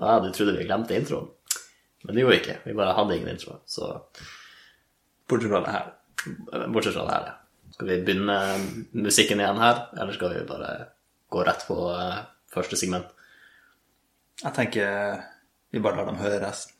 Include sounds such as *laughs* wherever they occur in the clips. ah, du trodde vi glemte introen. Men det gjorde vi ikke. Vi bare hadde ingen intro. Så bortsett fra det her. Bortsett fra det her, ja. Skal vi begynne musikken igjen her, eller skal vi bare gå rett på eh, første segment? Jeg tenker eh, vi bare lar dem høre resten.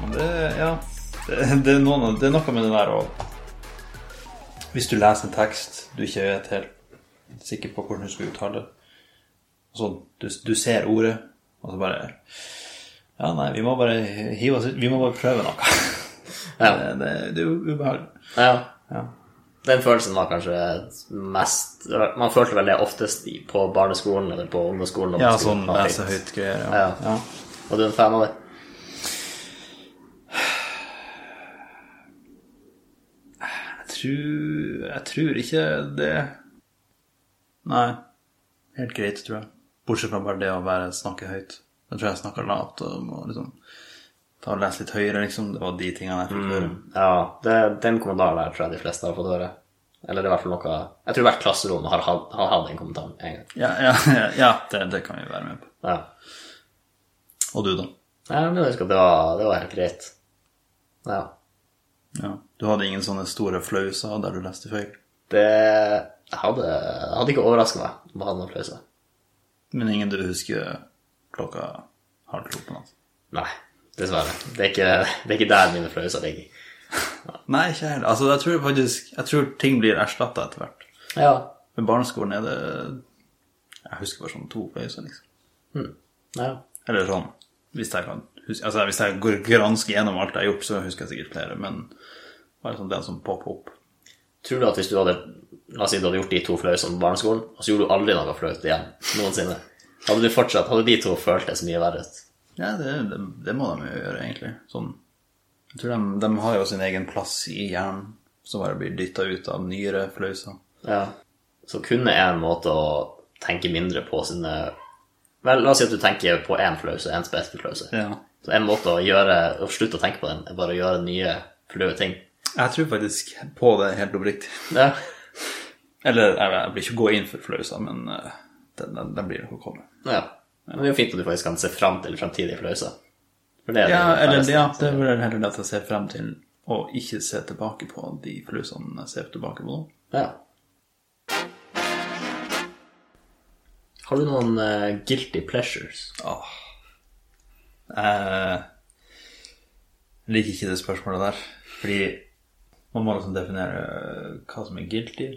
Men det, ja, det, det, er noen, det er noe med det der å Hvis du leser en tekst du ikke er helt sikker på hvordan du skal uttale det sånn, du, du ser ordet, og så bare Ja, nei, vi må bare hive oss ut. Vi må bare prøve noe. *laughs* Ja. Det, det, det er jo ubehagelig. Ja. Ja. Den følelsen var kanskje mest Man følte vel det oftest i- på barneskolen eller på ungdomsskolen. og på Ja, sånn skolen, da, lese høyt-greier. Ja. Ja. Og du er en fan av det? Jeg, tror, jeg tror ikke det Nei. Helt greit, tror jeg. Bortsett fra bare det å være snakke høyt. Jeg tror jeg snakker lavt og må liksom ta og lese litt høyere, liksom. Det var de tingene jeg fikk høre. Ja, det, den kommentaren der tror jeg de fleste har fått høre. Eller det er i hvert fall noe Jeg tror hvert klasserom har hatt, har hatt den kommentaren en gang. Ja, ja, ja, ja det, det kan vi være med på. Ja. Og du, da? Nei, men jeg husker at det var, det var helt greit. Ja. Ja. Du hadde ingen sånne store flauser der du leste feil? Det jeg hadde, jeg hadde ikke overraska meg om jeg hadde noen flause. Men ingen du husker klokka halv to på natt? Nei, dessverre. Det er ikke, det er ikke der mine flauser ligger. Nei, ikke heller. Altså, jeg tror faktisk Jeg tror ting blir erstatta etter hvert. Ja. Med barneskolen er det Jeg husker bare sånn to fløyser, liksom. ja. Eller sånn Hvis jeg kan huske Altså, hvis jeg går gransker gjennom alt jeg har gjort, så husker jeg sikkert flere, men bare sånn den som popper opp. Tror du at hvis du hadde La oss si du hadde gjort de to flausene på barneskolen, og så gjorde du aldri noe flaut igjen noensinne, hadde du fortsatt, hadde de to følt det så mye verre ut? Ja, det, det, det må de jo gjøre, egentlig. Sånn Jeg tror de, de har jo sin egen plass i hjernen, som bare blir dytta ut av nyere flauser. Ja. Så kun er en måte å tenke mindre på sine Vel, la oss si at du tenker på én flause, én spesifikk flause. Ja. Så en måte å gjøre, å slutte å tenke på den, er bare å gjøre nye flaue ting. Jeg tror faktisk på det helt oppriktig. Ja. Eller jeg, jeg blir ikke gå inn for flauser, men eh, den, den, den blir nok å komme. ja. Men det er jo fint at du faktisk kan se fram til fremtidige flauser. For det er Ja, det eller færreste. ja, det er vel heller det at jeg ser frem til å ikke se tilbake på de flausene jeg ser tilbake på nå. Ja. Har du noen eh, guilty pleasures? Åh. Jeg liker ikke det spørsmålet der, fordi man må liksom definere hva som er guilty,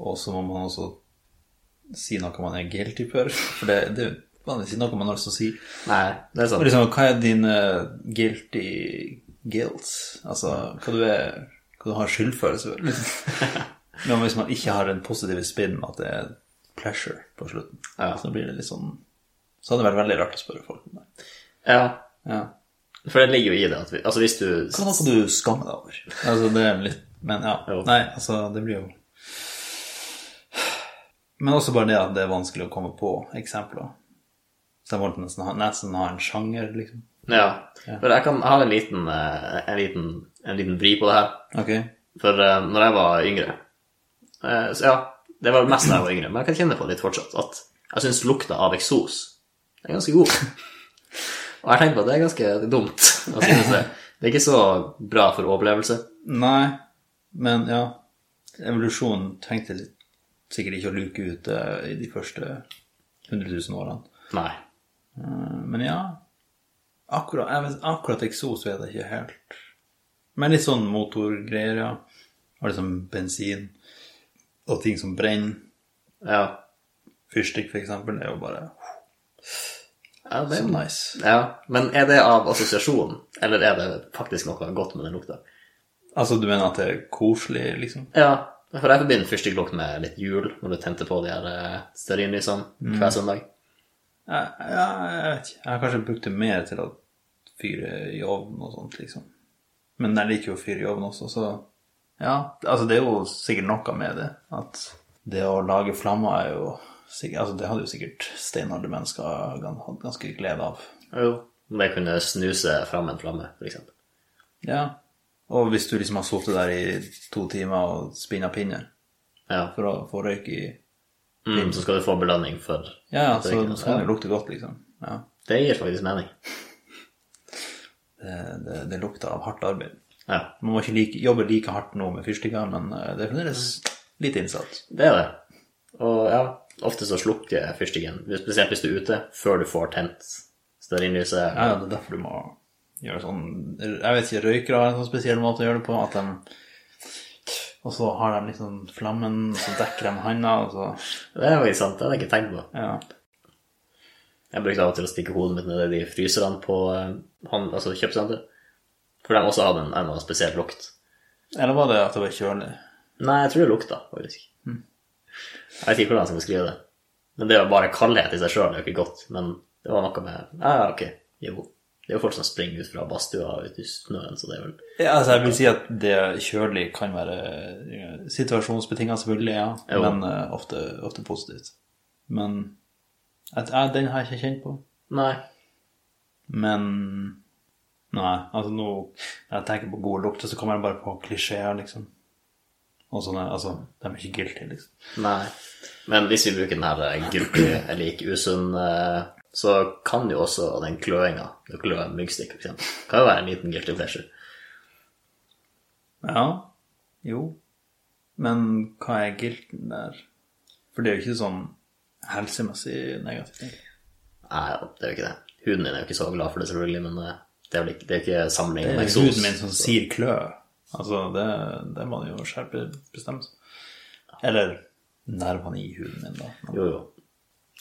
og så må man også si noe man er guilty for, *laughs* for det, det er vanligvis ikke noe man har lyst til å si. Nei, det er Og sant. liksom, hva er dine guilty guilts? Altså, hva du, er, hva du har skyldfølelse for? *laughs* liksom. Men hvis man ikke har den positive spinn at det er pleasure på slutten, Ja. så blir det litt sånn Så hadde det vært veldig rart å spørre folk om det. Ja, Ja. for det ligger jo i det at vi, Altså, hvis du Hva er noe du skammer deg over? Altså, det er litt Men ja. Jo. Nei, altså, det blir jo Men også bare det at det er vanskelig å komme på eksempler. Så jeg måtte nesten ha, nesten ha en sjanger, liksom. Ja. For jeg, kan, jeg har en liten, eh, en, liten, en liten vri på det her. Ok. For eh, når jeg var yngre eh, Så ja, det var mest da jeg var yngre, men jeg kan kjenne på det litt fortsatt at jeg syns lukta av eksos er ganske god. Og jeg tenker på at det er ganske dumt. å synes det. sånn. det er ikke så bra for overlevelse. Nei, men ja. Evolusjonen trengte litt, sikkert ikke å luke ut det i de første 100 000 årene. Nei. Eh, Men ja, akkurat, jeg vet, akkurat eksos vet jeg ikke helt. Men litt sånn motorgreier, ja. Og liksom bensin. Og ting som brenner. Ja. Fyrstikk, for eksempel, er jo bare ja det så er jo nice. ja. Men er det av assosiasjon, eller er det faktisk noe godt med den lukta? Altså, du mener at det er koselig, liksom? Ja, for jeg forbinder fyrstikklokk med litt jul, når du tente på de her eh, stearinlysene hver søndag. Jeg, jeg, jeg vet ikke. Jeg har kanskje brukt det mer til å fyre i ovnen og sånt, liksom. Men jeg liker jo å fyre i ovnen også, så ja. Altså, det er jo sikkert noe med det. At det å lage flammer er jo Sikkert, altså det hadde jo sikkert steinalde mennesker gan- hatt ganske glede av. Jo. Om jeg kunne snuse fram en flamme, for eksempel. Ja. Og hvis du liksom har sittet der i to timer og spinna pinner Ja. for å få røyk i Mm, så skal du få belønning for Ja, ja, at så røyken- så kan det lukte godt, liksom. Ja. Det gir faktisk mening. Det, det, det lukter av hardt arbeid. Ja. Man må ikke like, jobbe like hardt nå med fyrstikker, men eh, det er fremdeles litt innsats. Det er det. Og ja, ofte så slukker fyrstikken, spesielt hvis du er ute, før du får tent stearinlyset. Ja, ja, det er derfor du må gjøre sånn Jeg vet ikke, røykere har en sånn spesiell måte å gjøre det på. At de, og så har de liksom flammen, og så dekker de handa, og så Det er faktisk sant, det hadde jeg ikke tenkt på. Ja. Jeg brukte av og til å stikke hodet mitt ned i de fryserne på eh, han, altså kjøpesenter. For de også hadde en, en annen spesiell lukt. Eller var det at det var kjølig? Nei, jeg tror det lukta, faktisk. Jeg vet ikke hvordan jeg skal beskrive det. Men det er jo bare kaldhet i seg sjøl, det er jo ikke godt. Men det var noe med Ja, ja, ok, jo. Det er jo folk som springer ut fra badstua og ut i snøen, så det er vel Ja, altså jeg vil si at det kjølig kan være eh, situasjonsbetinget selvfølgelig, ja. Jo. Men eh, ofte, ofte positivt. Men at, ja, den har jeg ikke kjent på. Nei. Men nei, altså nå når jeg tenker på god lukt, så kommer jeg bare på klisjeer, liksom. Og sånne, altså, de er ikke guilty, liksom. Nei. Men hvis vi bruker den her eh, guilty eller ikke usunn, eh, så kan jo også den kløinga, det å klø en myggstikk, for eksempel, kan jo være en liten guilty pleasure. Ja, jo. Men hva er guilten der? For det er jo ikke sånn helsemessig negativt. egentlig. Nei, ja, det er jo ikke det. Huden din er jo ikke så glad for det, selvfølgelig, men eh, det er vel ikke, det er ikke sammenlignet Det med er eksos. huden min som sier klø. Altså, det, det må jo skjerpe bestemt. Eller nervene i huden min, da. Men Jo, jo.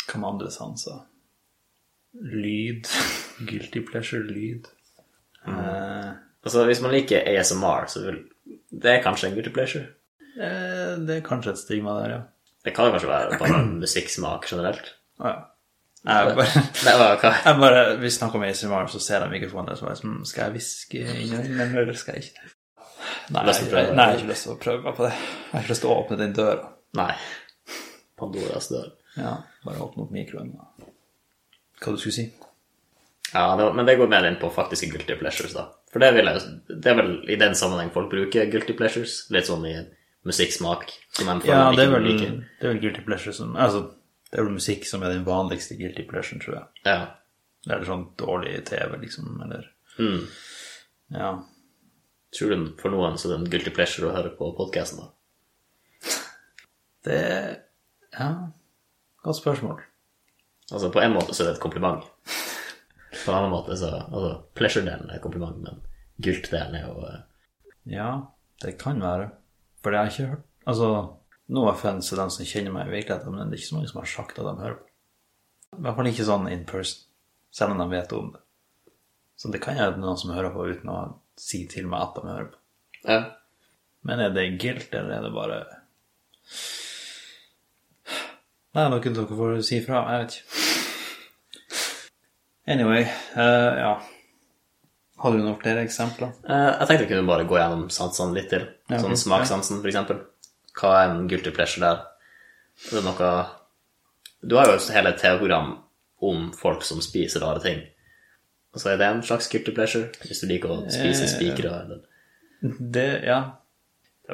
Hva med andre sanser? Lyd. *laughs* Guilty pleasure, lyd. Eh, Altså, hvis man liker ASMR, så vil det er kanskje en guilty pleasure. eh, det er kanskje et stigma der, ja. Det kan jo kanskje være bare musikksmak generelt. Å ja. Jeg bare, *laughs* *laughs* Det var hva jeg bare, vi snakker om ASMR, så ser jeg mikrofonen der, så bare sånn Skal jeg hviske inn i øynene, eller skal jeg ikke? Nei, Lyst til å jeg, prøve det? jeg, nei, jeg har ikke lyst til å prøve meg på det. Jeg har ikke lyst til å åpne den døra. Nei. Pandoras dør. Ja, bare åpne opp mikroen. da. Hva du skulle si? Ja, det var, men det går mer inn på faktiske guilty pleasures, da. For det, vil jeg, jo- det er vel i den sammenheng folk bruker guilty pleasures. Litt sånn i musikksmak. Som de føler Ja, de det er ikke vel, liker. det er vel guilty pleasure som Altså, det er vel musikk som er den vanligste guilty pleasuren, tror jeg. Ja. Eller sånn dårlig TV, liksom, eller Mm. Ja. Tror du for noen så er det en guilty pleasure å høre på podkasten, da? Det Ja, godt spørsmål. Altså, på en måte så er det et kompliment. På en annen måte så Altså, pleasure-delen er et kompliment, men guilt-delen er jo eh, Ja, det kan være. For jeg har ikke hørt Altså, no offense til dem som kjenner meg i virkeligheten, men det er ikke så mange som har sagt at de hører på. I hvert fall ikke sånn in person, selv om de vet om det. Så det kan være noen som hører på uten å si til meg at de hører på. Ja. Men er det guilt, eller er det bare Nei, da kunne dere få si fra. Jeg vet ikke. Anyway, eh, ja. Hadde du noen flere eksempler? Eh, Jeg tenkte vi kunne bare gå gjennom sansene litt til. Ja, ok. Sånn smakssansen, for eksempel. Hva er en guilty pleasure der? Er det noe Du har jo et hele TV-program om folk som spiser rare ting. Og så er det en slags guilty pleasure, hvis du liker å spise Eh, spikere eller Det, ja. Det er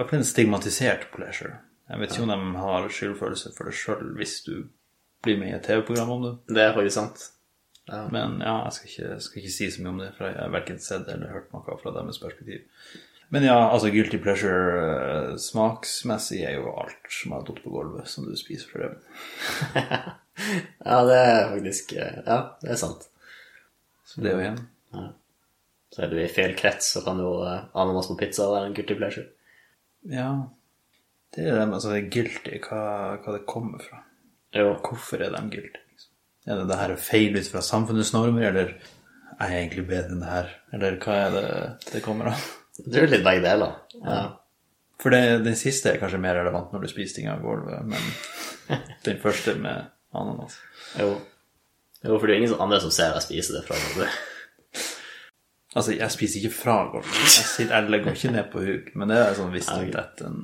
iallfall en stigmatisert pleasure. Jeg vet ikke om de har skyldfølelse for det sjøl hvis du blir med i et TV-program om det. Det er faktisk sant. Men ja, jeg skal ikke, skal ikke si så mye om det, for jeg har verken sett eller hørt noe fra deres perspektiv. Men ja, altså guilty pleasure eh, smaksmessig er jo alt som har datt på gulvet, som du spiser for øvrig. Ja, det er faktisk eh, Ja, det er sant. Så det er jo igjen. Så er du i feil krets, så kan jo eh, ananas på pizza være en guilty pleasure. Ja. Det er det med altså, det er guilty, hva, hva det kommer fra. Jo. Hvorfor er de guilty? Liksom? Er det det her er feil ut fra samfunnets normer, eller er jeg egentlig bedre enn det her? Eller hva er det det kommer av? Det er litt begge deler. Ja. For det, den siste er kanskje mer relevant når du spiser ting av gulvet, men den første med ananas. Jo. Jo, for det er jo ingen sånn andre som ser deg spise det fra når du Altså, jeg spiser ikke fra gulvet. Jeg, sitter, jeg legger ikke ned på huk, men det er sånn visst og lett en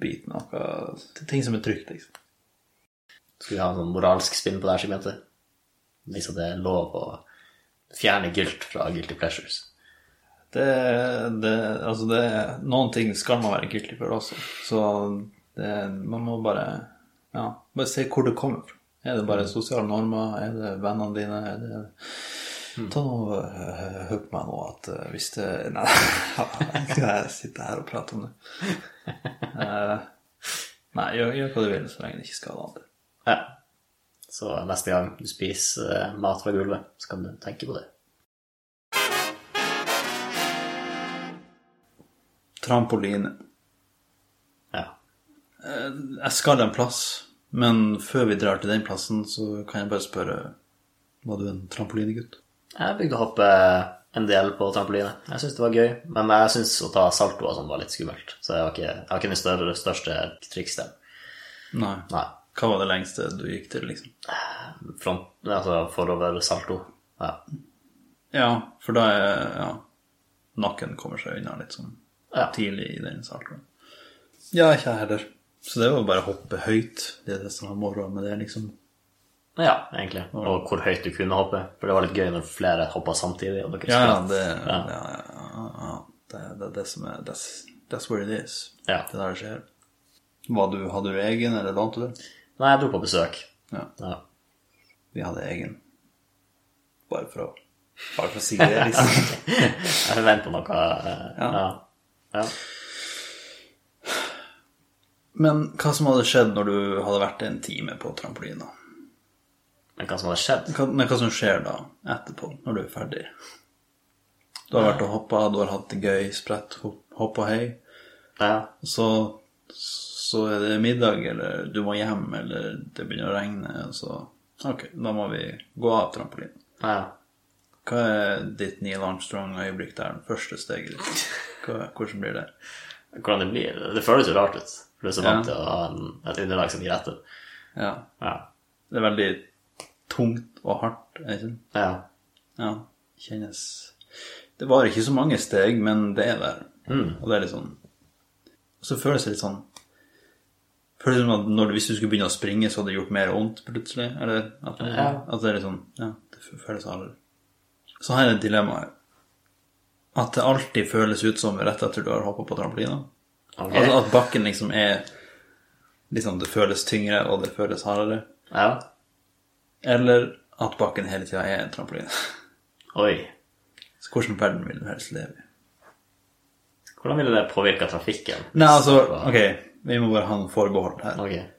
bit noe Ting som er trygt, liksom. Skulle vi ha en sånn moralsk spinn på det her segmentet? Vise at det er lov å fjerne gylt fra guilty pleasures. Det, det, altså det, noen ting skal man være guilty for også. Så det, man må bare, ja, bare se hvor det kommer fra. Er det bare sosiale normer? Er det vennene dine? Er det, ta nå øh, Hør på meg nå at øh, hvis det *laughs* Nei, skal jeg sitte her og prate om det? Eh, nei, gjør, gjør hva du vil så lenge det ikke skader andre. Ja. Så neste gang du spiser eh, mat fra gulvet, så kan du tenke på det. Trampoline. Ja. Jeg skal en plass, men før vi drar til den plassen, så kan jeg bare spørre Var du en trampolinegutt? Jeg begynte å hoppe eh, en del på trampoline. Jeg syns det var gøy, men jeg syns å ta salto og sånn var litt skummelt. Så jeg har ikke, jeg har ikke den større, største triks der. Nei. Nei. Hva var det lengste du gikk til, liksom? Front, altså forover salto. Ja. Ja, for da er ja, nakken kommer seg unna litt sånn Ja. tidlig i den saken. Ja, ikke jeg heller. Så det var bare å hoppe høyt. Det er det som er moroa med det, liksom. ja, egentlig. Og hvor høyt du kunne hoppe. For det var litt gøy når flere hoppa samtidig. Og dere Ja, ja, spratt. det, ja. Ja, ja, ja. det, det er det som er That's, that's what it is. Ja. Det er der det skjer. Var du, hadde du egen, eller lånte du? Nei, jeg dro på besøk. Ja. Ja. *laughs* Vi hadde egen. Bare for å, bare for å si det, *laughs* liksom. Jeg forventer noe eh, Ja. ja. ja. Men hva som hadde skjedd når du hadde vært en time på trampolina? Men hva som hadde skjedd? Hva, men hva som skjer da etterpå, når du er ferdig? Du har vært og hoppa, du har hatt det gøy, spredt, hopp, hopp og hei. Ja. Og så, så er det middag, eller du må hjem, eller det begynner å regne, og så Ok, da må vi gå av trampolinen. ja. Hva er ditt Neil Armstrong-øyeblikk der? Det første steget ditt? Hva, hvordan blir det? Hvordan det blir? Det føles jo rart ut. For du er så Ja. vant til å ha en, et underlag som gir etter. Ja. Ja. Det er veldig tungt og hardt, er det ikke? ja. Ja, kjennes Det var ikke så mange steg, men det er der. Og det er litt sånn Og så føles det litt sånn Føles det som at når, hvis du skulle begynne å springe, så hadde det gjort mer vondt plutselig? Eller at, Ja. at det er litt sånn Ja, det føles aldri Så her er et dilemma her. At det alltid føles ut som rett etter du har hoppa på trampolina. Ok. Altså at bakken liksom er Liksom det føles tyngre, og det føles hardere. ja. Eller at bakken hele tida er en trampoline. Oi. *laughs* Så hvordan verden vil du helst leve i? Hvordan ville det påvirka trafikken? Nei, altså, ok, vi må bare ha noen forbehold her. Ok.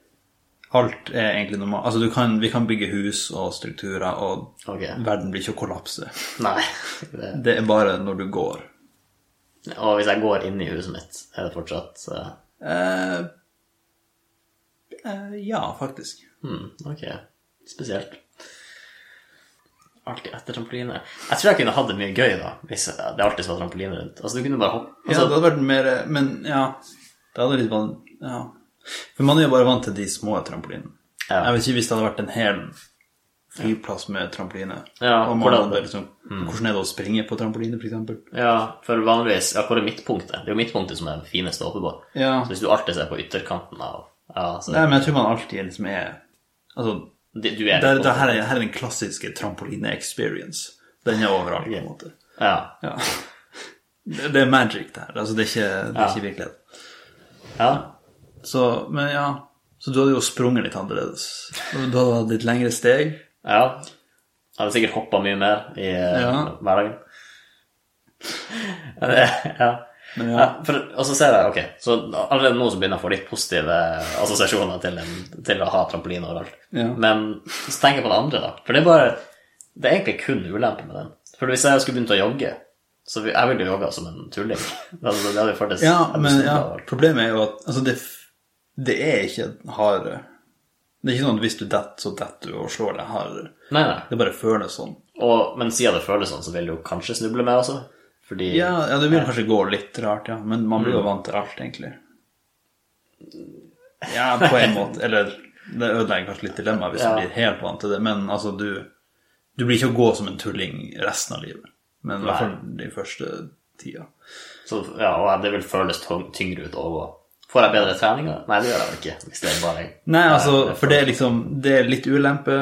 Alt er egentlig normalt. Altså, du kan, vi kan bygge hus og strukturer, og Ok. verden blir ikke å kollapse. *laughs* Nei. *laughs* Det. Det er bare når du går. Og hvis jeg går inn i huset mitt, er det fortsatt eh, Eh, eh, ja, faktisk. hmm, Ok. Spesielt. Alltid etter trampoline. Jeg tror jeg kunne hatt det mye gøy da, hvis det alltid var trampoline rundt. Altså, du kunne bare hoppe Ja, altså, det hadde vært mer Men ja, det hadde litt van... Ja. For man er jo bare vant til de små trampolinene. Ja. Jeg vet ikke hvis det hadde vært en hel flyplass med trampoline. Ja, og man hvordan- Mm. hadde liksom, hvordan er det å springe på trampoline, for eksempel? Ja, for vanligvis Ja, hvor er midtpunktet? Det er jo midtpunktet som er det fineste å hoppe på. Ja. Så hvis du alltid ser på ytterkanten av Ja, så Nei, men jeg tror man alltid liksom er Altså, det, du er det, det på- her, er, her er den klassiske trampoline-experience. Den er overalt, på en måte. Ja. Ja. Det, det er magic, det her. Altså, det er ikke, det er ikke virkelighet. ja. Så, men ja Så du hadde jo sprunget litt annerledes. Og Du hadde hatt litt lengre steg. Ja. Jeg hadde sikkert hoppa mye mer i eh, Ja. hverdagen. Ja, det- ja. Men ja. ja. For, og så ser jeg, ok, så allerede nå så begynner jeg å få litt positive assosiasjoner til, en, til å ha trampoline overalt. Ja. Men så tenker jeg på det andre, da. For det er bare Det er egentlig kun ulemper med den. For hvis jeg skulle begynt å jogge, så vi- jeg ville jo jogga som en tulling. *laughs* Altså, det hadde jo føltes Ja, men absurd ja, overalt. problemet er jo at altså, det, det er ikke hardere. Det er ikke sånn at hvis du detter, så detter du og slår deg hardere. Nei, nei. Det bare føles sånn. Og, men siden det føles sånn, så vil du jo kanskje snuble mer også. Fordi Ja, ja, det vil kanskje gå litt rart, ja. Men man blir jo vant til alt, egentlig. Ja, på en måte. Eller det ødelegger kanskje litt dilemma hvis Ja. du blir helt vant til det. Men altså, du, du blir ikke å gå som en tulling resten av livet. Men i hvert fall de første tida. Så, ja, og det vil føles tung- tyngre ut å gå. Får jeg bedre treninger? Nei, det gjør jeg vel ikke. Hvis det er bare Nei, altså, for det er liksom Det er litt ulempe,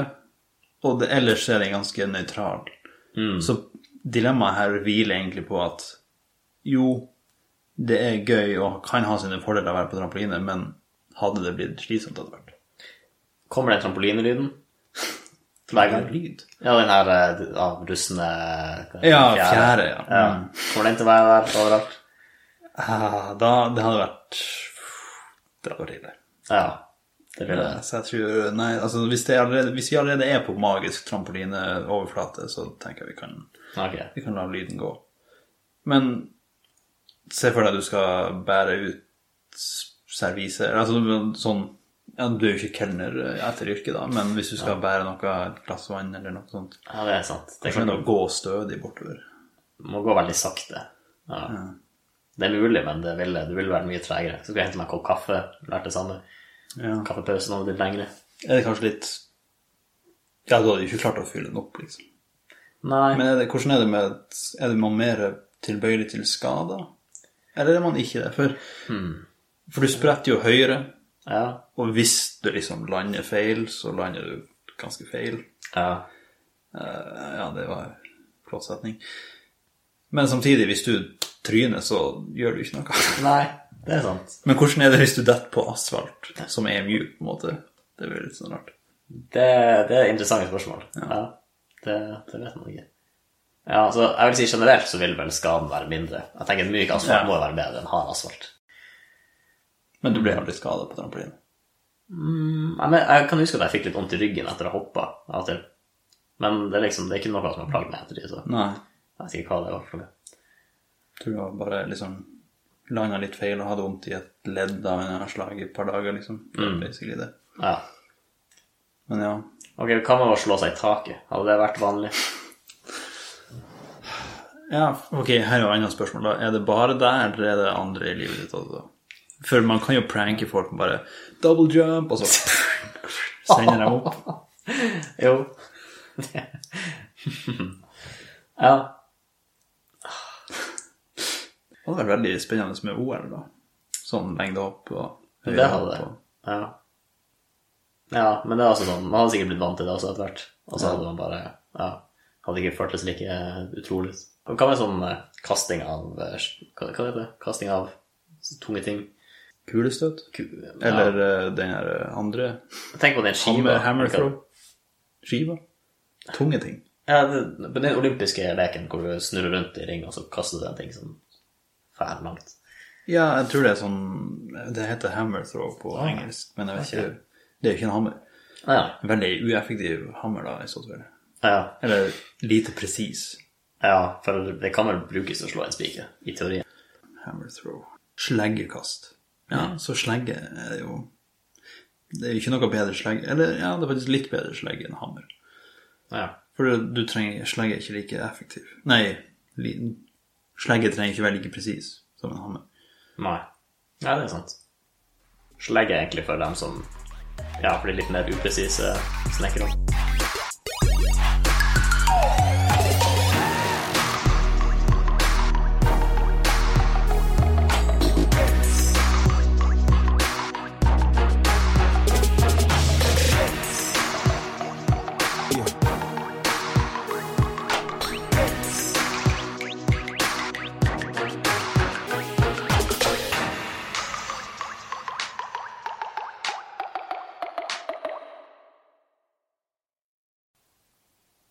og det, ellers er den ganske nøytral. Så dilemmaet her hviler egentlig på at jo, det er gøy og kan ha sine fordeler å være på trampoline, men hadde det blitt slitsomt etter hvert? Kommer den trampolinelyden? Hver gang. Lyd? Ja, den her eh, avrustende Ja, Mm. fjære, ja. eh, Ja. Kommer den til å være der overalt? Ah, da, det hadde vært Det hadde vært ille. Ja. Det blir det. Så jeg tror Nei, altså hvis, det allerede, hvis vi allerede er på magisk trampolineoverflate, så tenker jeg vi kan Ok. Vi kan la lyden gå. Men se for deg at du skal bære ut s- serviser altså men sånn, ja, Du er jo ikke kelner eh, etter yrket, da, men hvis du skal bære noe, et glass vann eller noe sånt Ja, det er sant. Det Kanskje kan, noe gå stødig bortover. må gå veldig sakte. Ja. Det er mulig, men det vil, det vil være mye tregere. Så skal jeg hente meg en kopp kaffe. Lært det samme. Ja. Kaffepausen hadde blitt lengre. Er det kanskje litt Ja, du hadde jo ikke klart å fylle den opp, liksom. Nei. Men er det, hvordan er det med Er det man mer tilbøyelig til skader? Eller er man ikke det? For, Hmm. for du spretter jo høyere, Ja. Og hvis du liksom lander feil, så lander du ganske feil. ja. Eh, Ja, det var en flott setning. Men samtidig, hvis du tryner, så gjør du ikke noe. *laughs* Nei, det er sant. Men hvordan er det hvis du detter på asfalt, som er mjuk, på en måte? Det blir litt sånn rart. Det, det er interessante spørsmål. Ja. det, det vet man ikke. Ja, så jeg vil si generelt så vil vel skaden være mindre. Jeg tenker at myk asfalt Ja. må jo være bedre enn hard asfalt. Men du blir aldri skada på trampoline. Mm, Jeg, men, jeg kan huske at jeg fikk litt vondt i ryggen etter å ha hoppa av og til. Men det er liksom, det er ikke noe som har plagd meg etter det, så jeg Nei. vet ikke hva det var for noe. Tror du bare liksom landa litt feil og hadde vondt i et ledd av en slag i et par dager, liksom. Det er Basically det. Ja. Men ja. Ok, hva med å slå seg i taket? Hadde det vært vanlig? Ja, ok, her er jo et annet spørsmål da. Er det bare der, eller er det andre i livet ditt også? For man kan jo pranke folk med bare double jump, *laughs* og så sender dem opp. Jo. *laughs* ja. Det hadde vært veldig spennende med OL da. Sånn lengde opp og Det hadde det. Ja. ja, men det er altså sånn, man hadde sikkert blitt vant til det også etter hvert. Og så hadde man bare ja, hadde ikke føltes like eh, utrolig. Og Hva med sånn eh, kasting av eh, Hva hva heter det? Kasting av tunge ting? Kulestøt. Ku, Eller eh, den her eh, andre. ja. Tenk på den skiva. Hammer, hammer throw. Skiva. Tunge ting. Ja, det, på den olympiske leken hvor du snurrer rundt i ring, og så kaster du en ting som fær langt. Ja, jeg tror det er sånn, det heter hammer throw på Ah, engelsk, men jeg vet ikke, det er jo ikke en hammer. Ja, ja. En veldig ueffektiv hammer da, i så fall. ja. Eller lite presis. Ja, for det kan vel brukes til å slå en spiker, i teorien. Hammer throw. Sleggekast. Ja, så slegge er det jo Det er jo ikke noe bedre slegge Eller ja, det er faktisk litt bedre slegge enn hammer. Ja. For du- du trenger slegge er ikke like effektiv. Nei, li- slegge trenger ikke være like presis som en hammer. Nei. Ja, det er sant. Slegg er egentlig for dem som ja, blir litt mer upresise snekkere.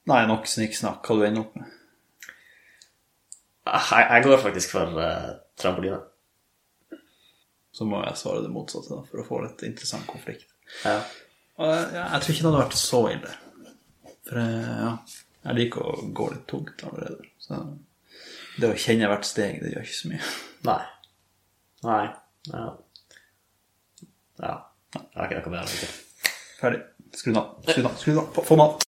Nei, nok snikksnakk. Hva du ender opp med? Jeg, jeg går faktisk for eh, trampoline. Så må jeg svare det motsatte, da, for å få litt interessant konflikt. Ja. Og jeg, ja, jeg tror ikke det hadde vært så ille. For eh, ja, jeg liker å gå litt tungt allerede. Så det å kjenne hvert steg, det gjør ikke så mye. Nei. Nei. Ja. ja. Jeg har ikke noe mer å legge til. Ferdig. Skru den av. Skru den av. Skru den av. Få- Få den av.